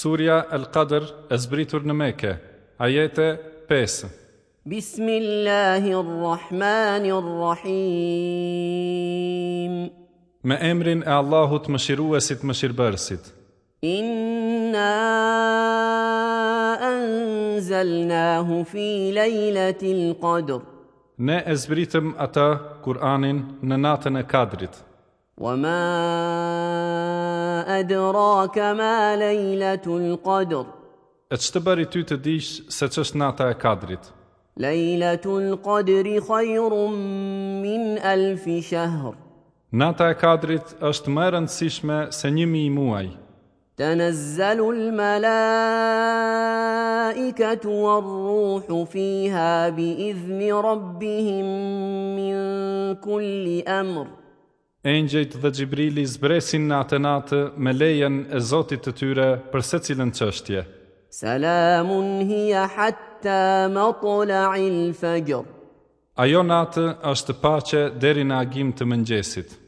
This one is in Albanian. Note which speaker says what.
Speaker 1: Surja El Qadr e zbritur në Mekë, ajete 5.
Speaker 2: بسم الله الرحمن الرحيم
Speaker 1: Me emrin e Allahut më shiruesit më shirëbërësit.
Speaker 2: إنا أنزلناه في ليلة القدر
Speaker 1: Ne e zbritëm ata Kur'anin në natën e Kadrit.
Speaker 2: وما أدراك ما ليلة القدر
Speaker 1: E që të bëri ty të dish se që është nata e Kadrit.
Speaker 2: ليلة القدر خير من ألف شهر
Speaker 1: Nata e Kadrit është më e rëndësishme se njëmi i muaj.
Speaker 2: تنزل الملائكة والروح فيها بإذن ربهم من كل أمر
Speaker 1: Engjëjt dhe Gjibrili zbresin në atë natë me lejen e Zotit të tyre për se cilën qështje.
Speaker 2: سلام هي حتى مطلع الفجر
Speaker 1: Ajo natë është pache deri në agim të mëngjesit.